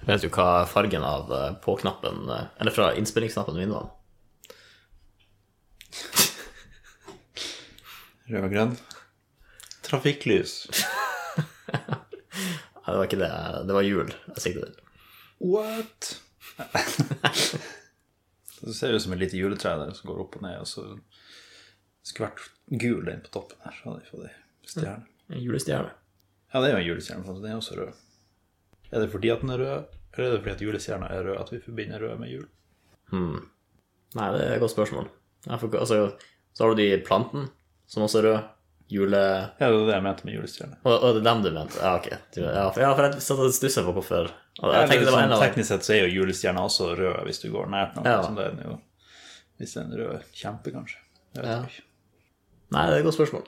Vet du hva fargen av eh, på-knappen eh, Eller fra innspillingsknappen min var? Rød og grønn. Trafikklys. Nei, det var ikke det. Det var jul jeg siktet til. What? det ser ut som et lite juletre der som går opp og ned, og så skvert gul inn på toppen her. Så hadde jeg fått ei stjerne. En julestjerne. Ja, det er jo en julestjerne, for den er også rød. Er det fordi at den er rød, eller er det fordi at julestjerna er rød, at vi forbinder rød med jul? Nei, det er et godt spørsmål. Jeg får, ikke- altså, så har du de plantene, som også er røde. Jule... Ja, det er det jeg mente med julestjerne. Og, og det er dem du mente? Ja, ok. Du- Ja, for, ja, for jeg satt og stusset på hvorfor. Og Jeg tenkte det var Eller en sånn, av Teknisk sett så er jo julestjerna også rød hvis du går nært noe. Ja. Som det er den jo. Hvis det er en rød kjempe, kanskje. Jeg vet Ja. ikke. Nei, det er et godt spørsmål.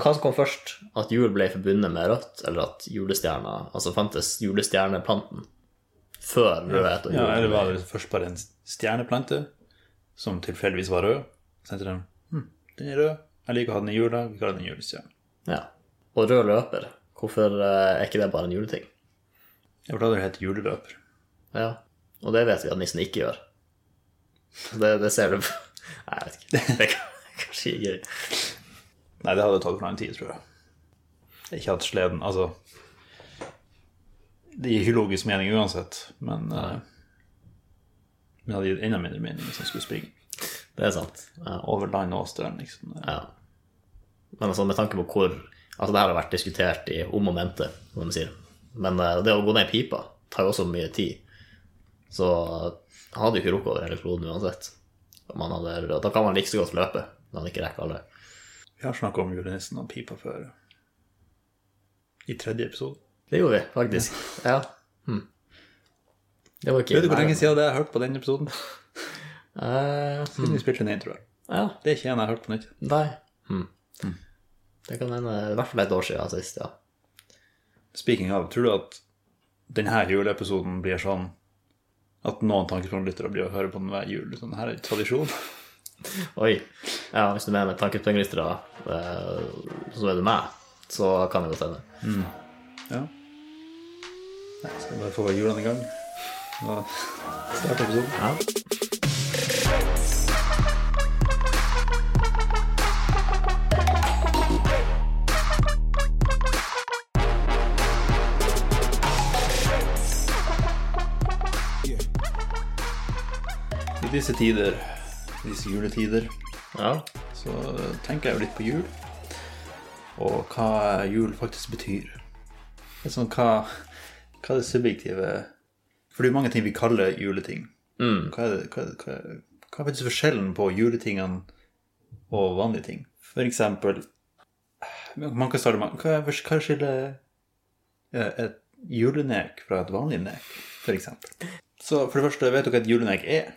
Hva som kom først? At jul ble forbundet med rødt, eller at julestjerna Altså fantes julestjerneplanten før rødhet og jul? Ja, eller var det først bare en stjerneplante som tilfeldigvis var rød? Så tenkte de hm, den er rød, jeg liker å ha den i jula, vi kaller den julestjerne. Ja. Og rød løper, hvorfor eh, er ikke det bare en juleting? Jeg fortalte det het juleløper. Ja. Og det vet vi at nissen ikke gjør. Det, det ser du på Nei, jeg vet ikke. Det kan, kanskje ikke gøy. Nei, det hadde tatt for lang tid, tror jeg. Ikke at sleden Altså, det gir ikke logisk mening uansett, men eh, Men det hadde gitt enda mindre mening hvis jeg skulle springe Det er sant. Ja. over land og strand, liksom. ja. Men altså, med tanke på hvor Altså, det her har vært diskutert i om og mente, som de sier. Men eh, det å gå ned i pipa tar jo også mye tid. Så han hadde jo ikke rukket over hele kloden uansett. Om han hadde, da kan man like så godt løpe når han ikke rekker alle. Vi har snakka om julenissen og pipa før. I tredje episode. Det gjorde vi, faktisk. Ja. Hm. Det var ikke Vet du hvor lenge siden det er jeg har hørt på den episoden? Eh, hm. Siden vi spilte den inn, tror jeg. Ja, Det er ikke en jeg har hørt på nytt. nei. Hm. Det kan hende i hvert fall et år siden sist, ja. Speaking of, tror du at denne juleepisoden blir sånn at noen tankespranglyttere blir å høre på den hver jul? Sånn, her er tradisjon. Oi. Ja, hvis du mener med tankespenglistere, eh, så er du meg, så kan det godt hende. Ja. Nei, skal vi bare få julene i gang. Da starter episoden. Ja. I disse tider, i disse juletider, ja. så tenker jeg jo litt på jul. Og hva jul faktisk betyr. Det er sånn, hva, hva er det subjektive For det er jo mange ting vi kaller juleting. Mm. Hva er, det, hva, er- hva, er- hva er faktisk forskjellen på juletingene og vanlige ting? For eksempel man kan starte med, Hva, er- hva skiller eh, et julenek fra et vanlig nek, for eksempel? Så for det første, vet dere hva et julenek er?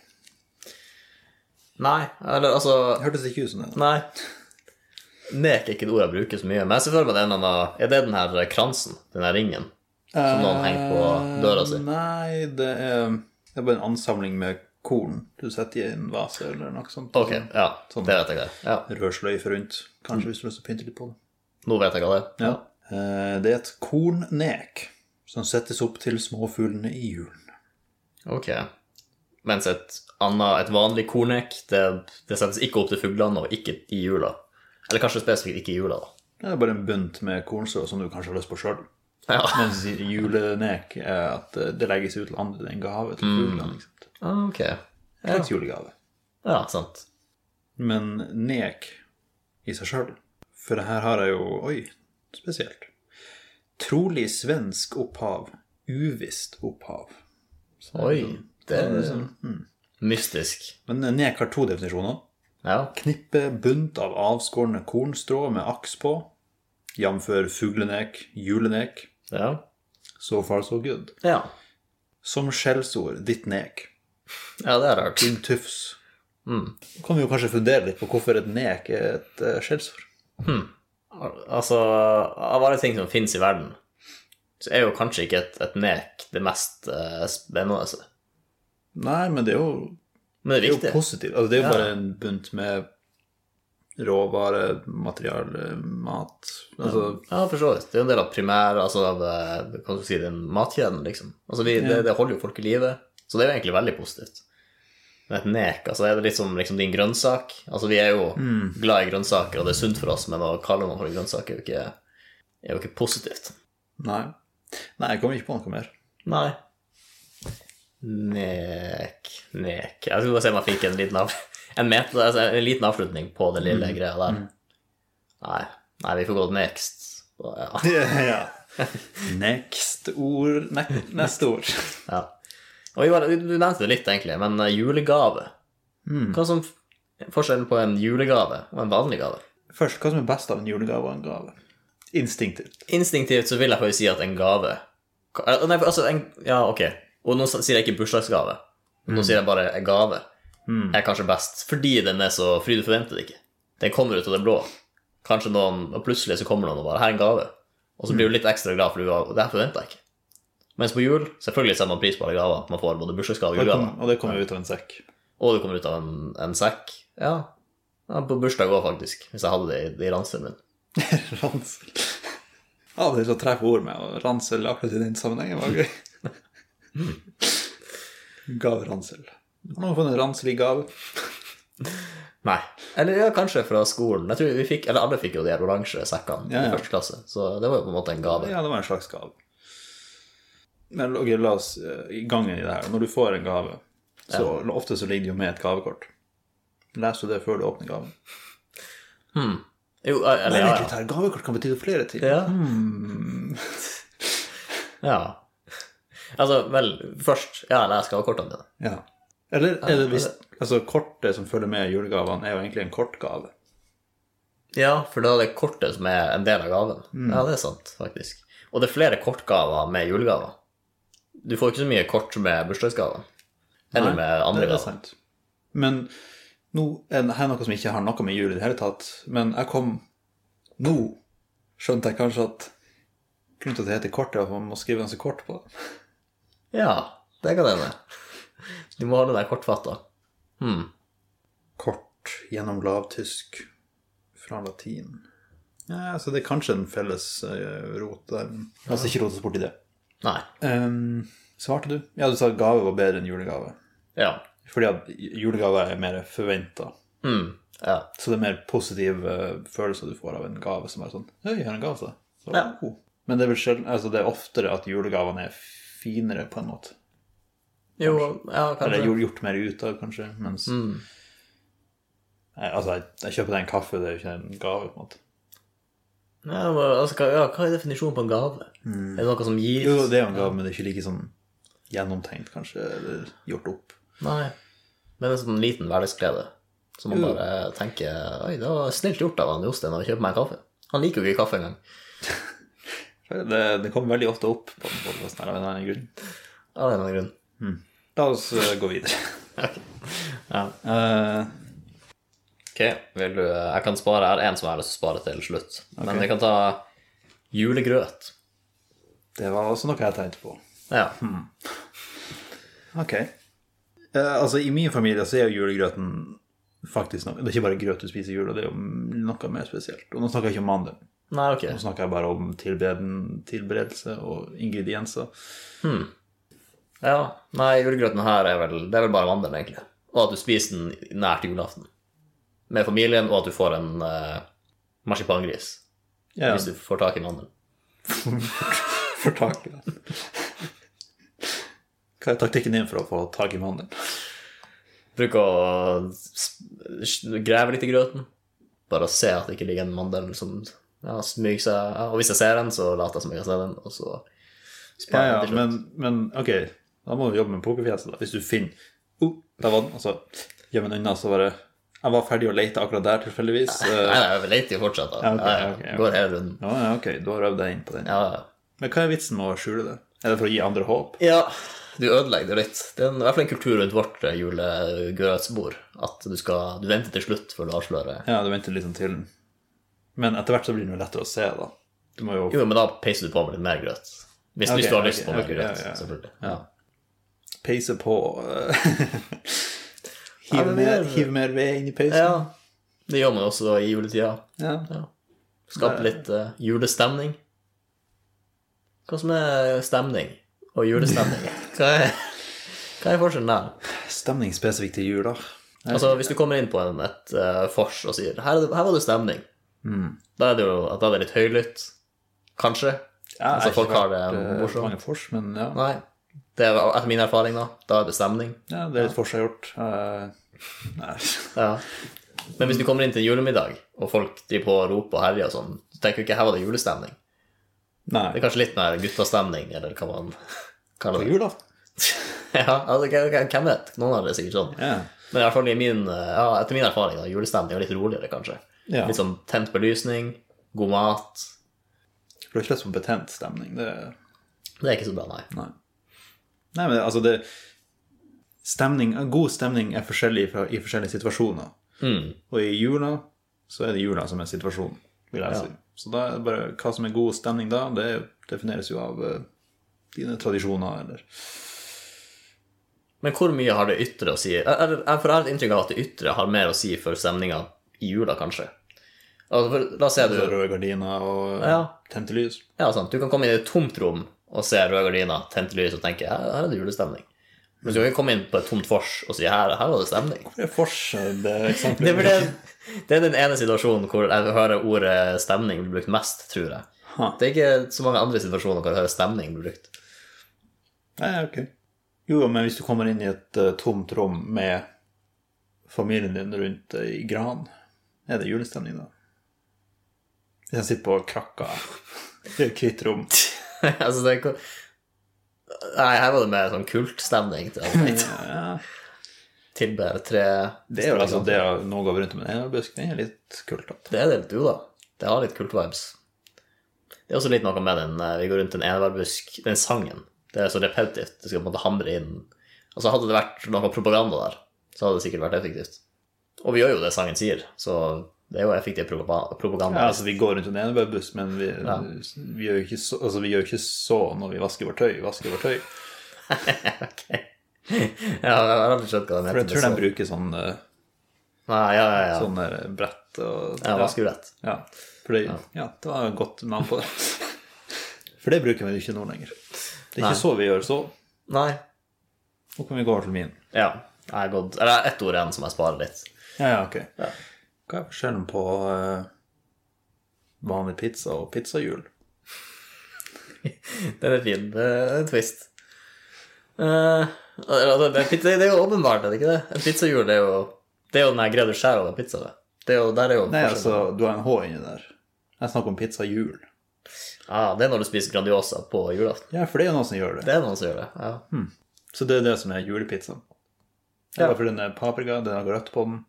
Nei, eller altså Det hørtes ikke ut som det. Nei. Nek er ikke et ord jeg bruker så mye, men jeg ser for meg det er en eller annen Er det den her kransen? Den her ringen? Som noen henger på døra si? Eh, Nei, det er, det er bare en ansamling med korn du setter i en vase eller noe sånt. Ok, ja. Det vet jeg hva det er. Ja. Rød sløyfe rundt, kanskje, hvis du har lyst til å pynte litt på det. Nå vet jeg hva det er. Ja. Eh, Det er et kornnek som settes opp til småfuglene i julen. Ok. Mens et annet, et vanlig kornek, det, det settes ikke opp til fuglene og ikke i jula. Eller kanskje spesifikt ikke i jula, da. Det er bare en bunt med kornstrå som du kanskje har lyst på sjøl. Ja. Mens julenek er at eh, det legges ut til andre, det er en gave til fuglene. Ikke sant? Ah, Ok. En slags julegave. Ja, sant. Men nek i seg sjøl For det her har jeg jo Oi, spesielt. Trolig svensk opphav. Uvisst opphav. Så Oi, det det er er sånn, mm. mystisk. Men nek har to definisjoner. Ja. Knippe bunt av avskårne kornstrå med aks på, jf. fuglenek, julenek, Ja. so far so good. Ja, Som skjellsord, ditt nek, ja det er rart. din tufs. Mm. Kan vi jo kanskje fundere litt på hvorfor et nek er et eh, skjellsord. Al- Altså, av alle ting som finnes i verden, så er jo kanskje ikke et, et nek det mest eh, spennende. Nei, men det er jo, Men det det er er jo viktig. positivt. Altså, det er jo Ja. bare en bunt med råvare, materiale, mat Altså Ja, for så vidt. Det er en del av primær, altså av eh, hva skal du si, den matkjeden, liksom. Altså, vi, det, det holder jo folk i live, så det er jo egentlig veldig positivt. Men et nek, altså er det litt som liksom din grønnsak? Altså, vi er jo glad i grønnsaker, og det er sunt for oss, men å kalle noen for en grønnsak er jo ikke, er jo ikke positivt. Nei. Nei, jeg kommer ikke på noe mer. Nei. Nek, nek Jeg skulle bare se om jeg fikk en liten, av, en meter, altså en liten avslutning på den lille greia der. Nei. Nei, vi får gå til next. Så, Ja. ja. Next ord ne Neste ord. ja. Og vi var, du nevnte det litt, egentlig, men eh, julegave Hva som er forskjellen på en julegave og en vanlig gave? Først, hva som er best av en julegave og en gave? Instinktivt. Instinktivt så vil jeg faktisk si at en gave Eh, Nei, altså en, Ja, ok. Og nå sier jeg ikke bursdagsgave. Nå sier jeg bare en gave. Er kanskje best. Fordi den er så Fordi du forventer det ikke. Den kommer ut av det blå. Kanskje noen Og plutselig så kommer noen og bare 'Her er en gave'. Og så blir du litt ekstra glad, for du har Det her forventa jeg ikke. Mens på jul selvfølgelig setter man pris på alle gaver. Man får både bursdagsgave og Det julegave. kom, og det kommer ut av en sekk. Og det kommer ut av en, en sekk. Ja. ja, på bursdag òg, faktisk. Hvis jeg hadde det i, i ranselen min. Ransel. Ja, det er så treff ord med og ransel akkurat i den sammenhengen var gøy. Hmm. Gaveransel. Har noen funnet ransel i gave? Nei. Eller ja, kanskje fra skolen. Jeg tror vi fikk, eller Alle fikk jo de her oransje sekkene Ja, ja. i første klasse, så det var jo på en måte en gave. Ja, det var en slags gave. Men ok, la oss eh, i gangen i det her. Når du får en gave, så ofte så ligger det jo med et gavekort. Leser du det før du åpner gaven? Hmm. Jo, eh, eller ja, Litt her, Gavekort kan bety flere ting. ja. ja. Hmm. ja. Altså, vel, først Ja, les gavekortene dine. Ja. Eller er det hvis Altså, kortet som følger med julegavene, er jo egentlig en kortgave. Ja, for da er det kortet som er en del av gaven. Mm. Ja, det er sant, faktisk. Og det er flere kortgaver med julegaver. Du får ikke så mye kort med bursdagsgaver. Eller med Det andre er gaver. sant. Men nå er det her er noe som ikke har noe med jul i det hele tatt. Men jeg kom Nå skjønte jeg kanskje at grunnen til at det heter kort, er at man må skrive ganske kort på det. Ja, det kan hende. Du må holde deg kortfatta. Kort gjennom lavtysk fra latin. Ja, så det er kanskje en felles eh, rot der. men- Altså ikke rotes bort i det. Nei. Ehm, svarte du? Ja, du sa at gave var bedre enn julegave. Ja. Fordi at julegave er mer forventa. Mm. Ja. Så det er mer positive eh, følelser du får av en gave som er sånn Hei, jeg har en gave til deg. Så, Ja. «Oh». Men det er vel sjelden Altså, det er oftere at julegavene er finere, på en måte. Jo, ja, Eller kanskje. gjort, gjort mer ut av, kanskje. Mens Nei, Altså, jeg, jeg kjøper deg en kaffe, det er jo ikke en gave, på en måte. Ja, men, altså, hva, ja, hva er definisjonen på en gave? Er det noe som gis? Jo, det er jo en gave, men det er ikke like sånn gjennomtenkt, kanskje, eller gjort opp. Nei. Men en sånn liten hverdagsglede. Så man bare tenker Oi, det var snilt gjort av han Jostein å kjøpe meg en kaffe. Han liker jo ikke kaffe engang. Det, det kommer veldig ofte opp på den podkasten her av en eller annen grunn. Av en eller annen grunn. La oss eh, gå videre. Ja. Eh, Ok, vil du Jeg kan spare her. En som jeg har lyst til å spare til slutt. Men Ok. vi kan ta julegrøt. det var også noe jeg tenkte på. Ja. Ok. Eh, altså, I min familie så er jo julegrøten faktisk noe Det er ikke bare grøt du spiser i jula, det er jo noe mer spesielt. Og nå snakker jeg ikke om mandel. Nei, ok. Nå snakker jeg bare om tilbeden, tilberedelse og ingredienser. Ja. Nei, julegrøten her er vel Det er vel bare mandelen, egentlig. Og at du spiser den nært julaften. Med familien, og at du får en eh, marsipangris. Ja, Hvis du får tak i mandelen. får tak i den. Hva er taktikken din for å få tak i mandelen? Bruk å sp- grave litt i grøten. Bare se at det ikke ligger en mandel som ja, smyger seg ja, Og hvis jeg ser den, så later jeg som jeg har sett den, og så Ja, sparer jeg ja, den til slutt. men, men ok, da må du jobbe med pokerfjeset, da. Hvis du finner oh, Der var den, altså. Gjemme den unna, så bare Jeg var ferdig å lete akkurat der, tilfeldigvis. Eh, Nei, nei, jeg leter jo fortsatt. Da. Ja, ok, Ja, ja, ok, ja. Går hele runden. Ja, ja, ok, da røvde jeg inn på den. Ja, ja. Men hva er vitsen med å skjule det? Er det for å gi andre håp? ja, du ødelegger det litt. Det er en, i hvert fall en kultur rundt vårt eh, julegrøtsbord at du, skal, du venter til slutt før du avslører. Ja, du venter litt sånn til den. Men etter hvert så blir det jo lettere å se, da. Du må jo Jo, men da peiser du på med litt mer grøt. Hvis, Ok, hvis du har ok, lyst på mer ok, ja, grøt, ja. selvfølgelig. Ja. peise på eh, Ja, hive, men det mer, er- hive mer ved inn i peisen. Ja. Det gjør man jo også da i juletida. Ja. Ja. Skape litt eh, julestemning. Hva som er stemning og julestemning? Hva er, hva er forskjellen der? Stemning spesifikt til jul, da. Altså, hvis du kommer inn på en, et eh, vors og sier her, er det- 'her var det stemning', Mm. da er det jo at da er det litt høylytt, kanskje. Ja, Altså, folk har det morsomt. morsomt. eh, Mange fors, men ja. Nei. Det er etter min erfaring, da. Da er det stemning. ja det er litt fors jeg har gjort. Eh, nei. Ja. Men hvis du kommer inn til en julemiddag, og folk driver på og roper og herjer og sånn, så tenker du ikke 'her var det julestemning'. Det nei. er kanskje litt mer guttastemning, eller hva man kaller det. Jul, da. Ja, altså, hvem- hvem hvem vet? Noen har det sikkert sånn. Ja. Men i hvert fall i min, eh, ja, etter min erfaring, da, julestemning er litt roligere, kanskje. ja. Litt sånn tent belysning, god mat. For det er ikke så betent stemning. Det er Det er ikke så bra, nei. Nei. Nei, men altså det stemning, God stemning er forskjellig fra, i forskjellige situasjoner. Mm. Og i jula så er det jula som er situasjonen, vil jeg Ja. si. Så da er det bare hva som er god stemning da, det defineres jo av eh, dine tradisjoner, eller Men hvor mye har det ytre å si? Er- er- er- For jeg har et inntrykk av at det ytre har mer å si for stemninga i jula, kanskje. Altså, for, la oss si at altså, du røde gardiner og ja. Ja. tente lys. Ja, sant. Du kan komme inn i et tomt rom og se røde gardiner, tente lys og tenke her, her er det julestemning. Men du kan ikke komme inn på et tomt vors og si her, her var det stemning. Det er forskjell, det er Det eksempelet. er, det, det er den ene situasjonen hvor jeg hører ordet stemning bli brukt mest, tror jeg. Ha. Det er ikke så mange andre situasjoner hvor jeg hører stemning bli brukt. Nei, ok. Jo, jo, men hvis du kommer inn i et eh, tomt rom med familien din rundt eh, i gran, er det julestemning da? Hvis jeg sitter på krakka i et hvitt rom altså, det er ikke... Nei, her var det mer sånn kultstemning til at jeg ja, tilber tre Det er jo altså det å nå gå rundt med en enebøsk, det er litt kult. da. Det er det litt jo, da. Det har litt kultvibes. Det er også litt noe med den eh, Vi går rundt en enebærbusk, den sangen. Det er så repetitivt. Det skal på en måte hamre inn Altså Hadde det vært noe propaganda der, så hadde det sikkert vært effektivt. Og vi gjør jo det sangen sier, så det er jo effektiv propa- Ja, propaganda. altså Vi går rundt med en enebøsk, men vi, vi gjør jo ikke, så- altså, vi gjør jo ikke så når vi vasker vårt tøy. vi vasker vårt tøy. ok. ja, jeg har aldri skjønt hva den For heter. jeg tror men de så- bruker sånn, eh, Nei, ja, ja, ja. sånn der brett og ja vaskerett. Ja, for det, ja. det var et godt navn på det. For det bruker vi jo ikke nå lenger. Det er ikke Nei. så vi gjør så. Nei. Nå kan vi gå over til min. Ja. Jeg har gått Eller jeg har ett ord igjen som jeg sparer litt. Ja, ja, ok. Ja. Hva er forskjellen på eh, vanlig pizza og pizzahjul? Den er fin. Det er en twist. Eh, altså, det, er pizza, det er jo åpenbart, er det ikke det? En pizzahjul er jo Det er jo den her greia du skjærer over pizza med. Det er jo, der er jo Nei, forskjellen. altså, du har en H inni der. Jeg snakker om pizzahjul. ah, Det er når du spiser Grandiosa på julaften. Ja, for det er jo noen som gjør det. Det er noen som gjør det. ja. Så det er det som er julepizzaen. Det er Ja. bare for den er paprika, den har rødt på den.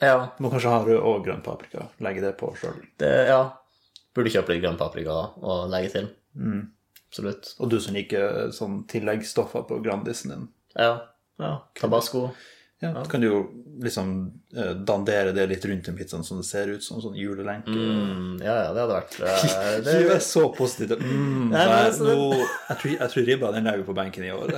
Ja, Du må kanskje ha rød og grønn paprika. Legge det på sjøl. det, ja. Burde kjøpe litt grønn paprika og legge til. Mm. Absolutt. Og du som liker sånn tilleggsstoffer på Grandisen din. Ja. ja. Tabasco. Ja, da kan du jo liksom eh, dandere det litt rundt den pizzaen, sånn det ser ut som sånn julelenke. Mm, ja, ja, det hadde vært eh, Det det, er så positivt. Mm, Nei, men der, altså, det- nå, jeg, tror, jeg tror ribba den legger vi på benken i år.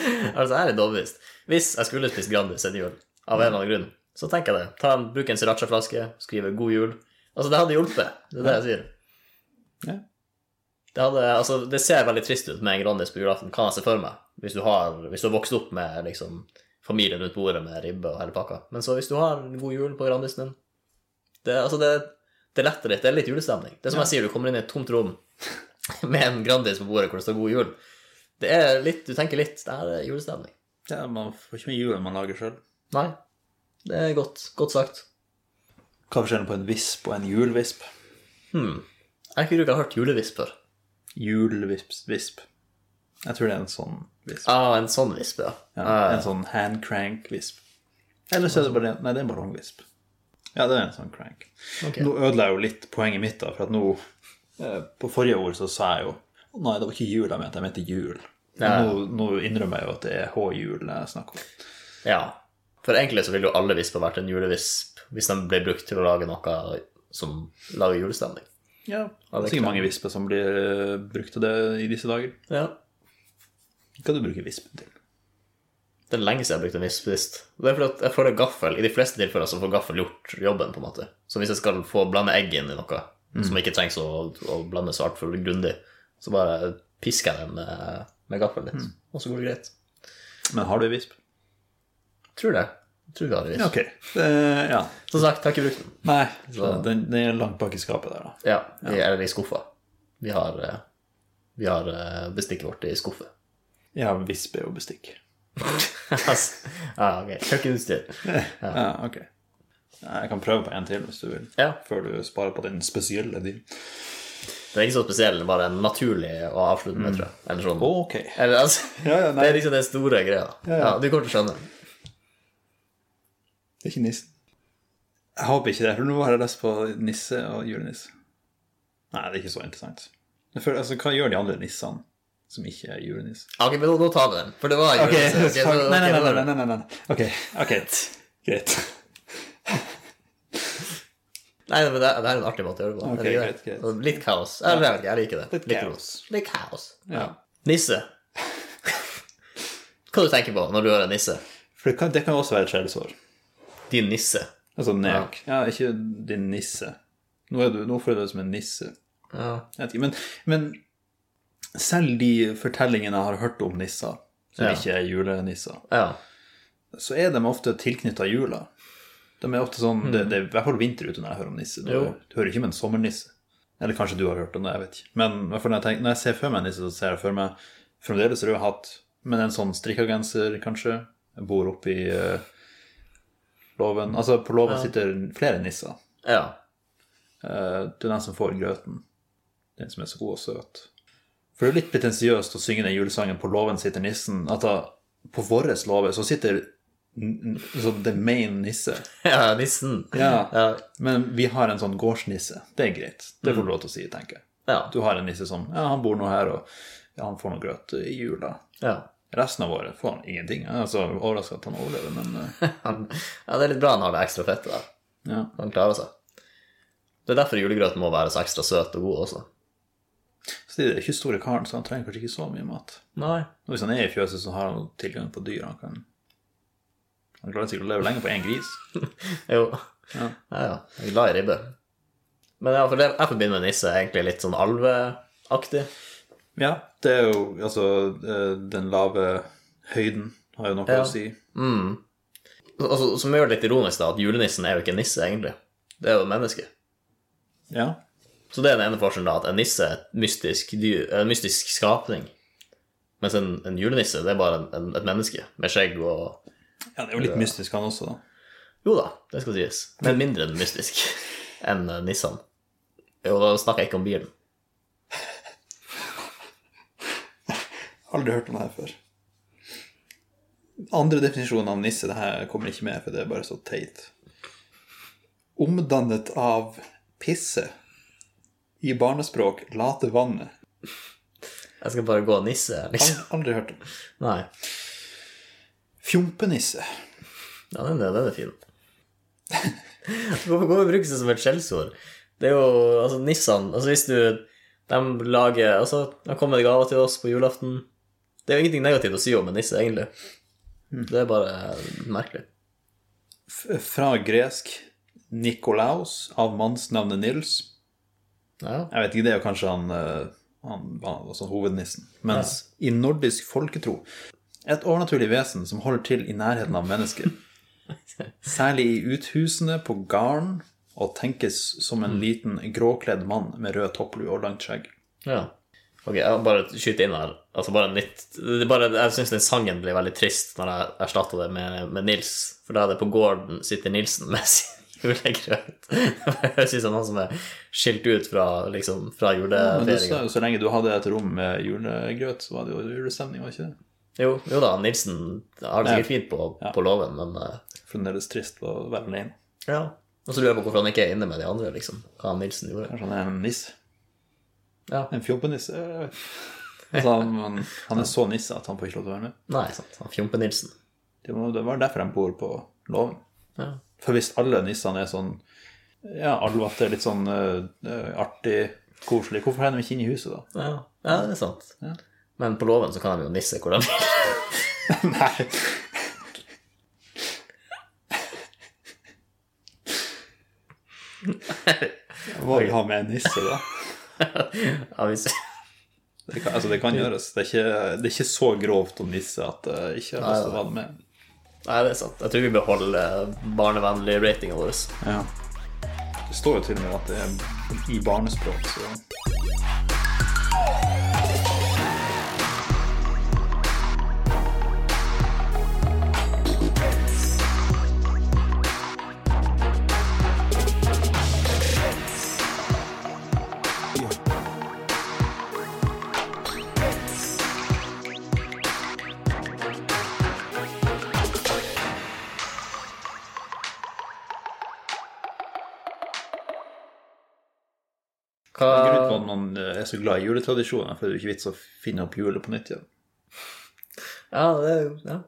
Altså, jeg er litt overbevist. Hvis jeg skulle spist Grandis en jul, av en eller annen grunn, så tenker jeg det. Ta en, bruk en sriracha-flaske, skrive 'God jul'. Altså, det hadde hjulpet. Det er det jeg sier. Ja. Det, hadde, altså, det ser veldig trist ut med en Grandis på julaften, kan jeg se for meg. Hvis du har, hvis du har vokst opp med liksom, familien rundt bordet med ribbe og hele pakka. Men så hvis du har en god jul på Grandisen din det, altså, det, det letter litt. Det er litt julestemning. Det er som jeg sier, du kommer inn i et tomt rom med en Grandis på bordet hvor det står 'God jul'. Det er litt, Du tenker litt. Det her er julestemning. Ja, man får ikke mye jul enn man lager sjøl. Nei. Det er godt, godt sagt. Hva er forskjellen på en visp og en julvisp? Hmm. Jeg kunne ikke ha hørt julevisp før. Julvisp-visp. Jeg tror det er en sånn visp. Ah, en sånn visp, ja. Ja, Ah, en sånn hand crank-visp. Eller så er det bare Nei, det er en ballongvisp. Ja, det er en sånn crank. ok. Nå ødela jeg jo litt poenget mitt, da, for at nå eh, På forrige ord så sa jeg jo «Å Nei, det var ikke jul jeg mente, jeg mente jul. Men Ja. Nå, nå innrømmer jeg jo at det er H-jul jeg snakker om. Ja. For egentlig så ville jo alle visper vært en julevisp hvis de ble brukt til å lage noe som lager julestemning. Ja, det det er er sikkert klart. mange visper som blir eh, brukt til det i disse dager. Ja. Hva du bruker vispen til? Det er lenge siden jeg har brukt en visspist. Det er fordi at jeg føler gaffel, I de fleste tilfeller så får gaffel gjort jobben. på en måte. Så hvis jeg skal få blande egg inn i noe som ikke trengs å, å blande så altfor grundig, så bare pisker jeg den med, med gaffel litt, og så går det greit. Men har du visp? Tror det. Tror vi har det. Ja, visst. ok. Eh, ja. Som sagt, jeg har ikke brukt den. Nei, så den, den er langt bak i skapet der, da. Ja, i, Eller i skuffa. Vi har, eh, vi har eh, bestikket vårt i skuffa. Ja, visp er jo bestikk. ja, Altså, ah, ok. Kjøkkenutstyr. Ja. ok. Nei, Jeg kan prøve på en til hvis du vil, Ja. før du sparer på den spesielle din. Det er ikke så spesiell, det er bare en naturlig å avslutte med, tror jeg. Eller sånn. Ok. Eller, altså, Mm. Ja, ja, Det nei, er liksom den store greia. Ja, Ja, ja. Du kommer til å skjønne. det er ikke nissen. Jeg håper ikke det, for nå har jeg lest på nisse og julenisse. Nei, det er ikke så interessant. Jeg føler, altså, hva gjør de andre nissene som ikke er julenisse? Ok, men nå, nå tar vi den, for det var jo Ok, så- ok, fuck. så- nei, nei, ok, nei, nå- nei, nei, nei, nei. Ok, ok, greit. Nei, men det, er- det er en artig måte å gjøre det på. Ok, er det ikke det? greit, greit. Og Litt kaos. Eller, jeg vet ikke, jeg liker det. Litt kaos. ros. Litt kaos. Ja. Nisse. Hva du tenker på når du hører nisse? For det kan, det kan også være et skjellsår. Din nisse. Altså nek. Ja, ikke din nisse. Nå, er du, nå føler du deg som en nisse. Ja. Jeg vet ikke, men, men selv de fortellingene jeg har hørt om nisser, som Ja. ikke er julenisser, ja. så er de ofte tilknytta jula. De er ofte sånn, det, det er i hvert fall vinter ute når jeg hører om nisse. Du, Mm. Jo. du hører ikke om en sommernisse. Eller kanskje du har hørt om det, jeg vet ikke. Men i hvert fall når jeg, tenker, når jeg ser for meg en nisse, så ser jeg for meg fremdeles rød hatt, men en sånn strikka genser, kanskje. Jeg bor oppe i eh, låven. Altså, på låven sitter flere nisser. ja. Eh, Det er den som får grøten. Den som er så god og søt. For det er litt pretensiøst å synge den julesangen 'På låven sitter nissen'. At da, på vår låve så sitter n- n- så the main nisse. Ja, nissen. Ja. Ja. Men vi har en sånn gårdsnisse. Det er greit. Det får du lov til å si, tenker jeg. Ja. Du har en nisse som ja, han bor nå her, og ja, han får noe grøt i jula. ja. Resten av året får han ingenting. Jeg er altså overraska at han overlever, men eh, Han, ja, det er litt bra han har det ekstra fettet der. ja. Han klarer seg. Det er derfor julegrøten må være så ekstra søt og god også. Så det er ikke store karen, så han trenger kanskje ikke så mye mat. Nei. Og hvis han er i fjøset, så har han tilgang på dyr. Han kan Han klarer sikkert å leve lenge på én gris. Jo. Ja. Ja, ja. Jeg er glad i ribbe. Men ja, for det, jeg forbinder med nisse egentlig litt sånn alveaktig. ja, det er jo altså eh, Den lave høyden har jo noe Ja. å si. Mm. Altså, som gjør det litt ironisk, da, at julenissen er jo ikke en nisse, egentlig. Det er jo et menneske. Ja. Så det er den ene forskjellen, da, at en nisse er et mystisk, dyr, en mystisk skapning. Mens en, en julenisse, det er bare en, en, et menneske med skjegg og ja, det er jo litt mystisk, han også, da. Jo da, det skal sies. Men mindre enn mystisk enn eh, nissene. Jo, da snakker jeg ikke om bilen. Aldri hørt om det her før. Andre definisjonen av nisse det her kommer ikke med, for det er bare så teit. Omdannet av pisse. I barnespråk late vannet. Jeg skal bare gå nisse, liksom. Al- Aldri hørt om. Nei. Fjompenisse. Ja, den er, den er fin. Hvorfor hvorfor brukes det som et skjellsord? Det er jo altså Nissan altså Hvis du De lager Altså, de kommer med gaver til oss på julaften. Det er jo ingenting negativt å si om en nisse, egentlig. Det er bare merkelig. F- fra gresk Nikolaus av mannsnavnet Nils. Ja. Jeg vet ikke, det er jo kanskje han, eh, han, han altså hovednissen. Mens i nordisk folketro et overnaturlig vesen som holder til i nærheten av mennesker. Særlig i uthusene, på gården, og tenkes som en liten gråkledd mann med rød topplue og langt skjegg. ja. Ok, jeg må bare skyte inn her. Altså bare litt det er bare, Jeg syns den sangen blir veldig trist når jeg erstatter det med, med Nils. For da er det på gården sitter Nilsen med sin julegrøt. Det høres ut som noen som er skilt ut fra, liksom, fra Men du julefeiringa. sa jo så lenge du hadde et rom med julegrøt, så var det jo julestemning, var det ikke det? Jo, jo da, Nilsen har det sikkert fint på, på låven, men eh, Fremdeles trist å være alene. ja. Og så lurer jeg på hvorfor han ikke er inne med de andre, liksom. Hva han Nilsen gjorde. Kanskje han er en nisse? Ja. En fjompenisse? jeg vet ikke. Altså, han, han- han er så nisse at han får ikke lov til å være med. Nei, sant. Han Fjompe-Nilsen. Det var- det var derfor de bor på låven. Ja. For hvis alle nissene er sånn ja, alvete, litt sånn eh, eh, artig, koselig, hvorfor er de ikke inne i huset da? Ja. ja, det er sant. Ja. Men på låven så kan han jo nisse hvor han vil. Nei. Hva vil ha med en nisse, da? ja, hvis... Det kan, altså, det kan gjøres. Det er, ikke, det er ikke så grovt å nisse at jeg ikke har lyst til å være med. Nei, det er sant. Jeg tror vi beholder eh, barnevennlig ratinga vår. Ja. Det står jo til og med at det er i barnespråk, så Grunnen til Hva... at man eh, er så glad i juletradisjoner, for det er jo ikke vits å finne opp julet på nytt igjen. Ja, det er jo ja.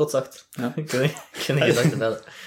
Godt sagt. Ja. Kunne, kunne ikke sagt det bedre.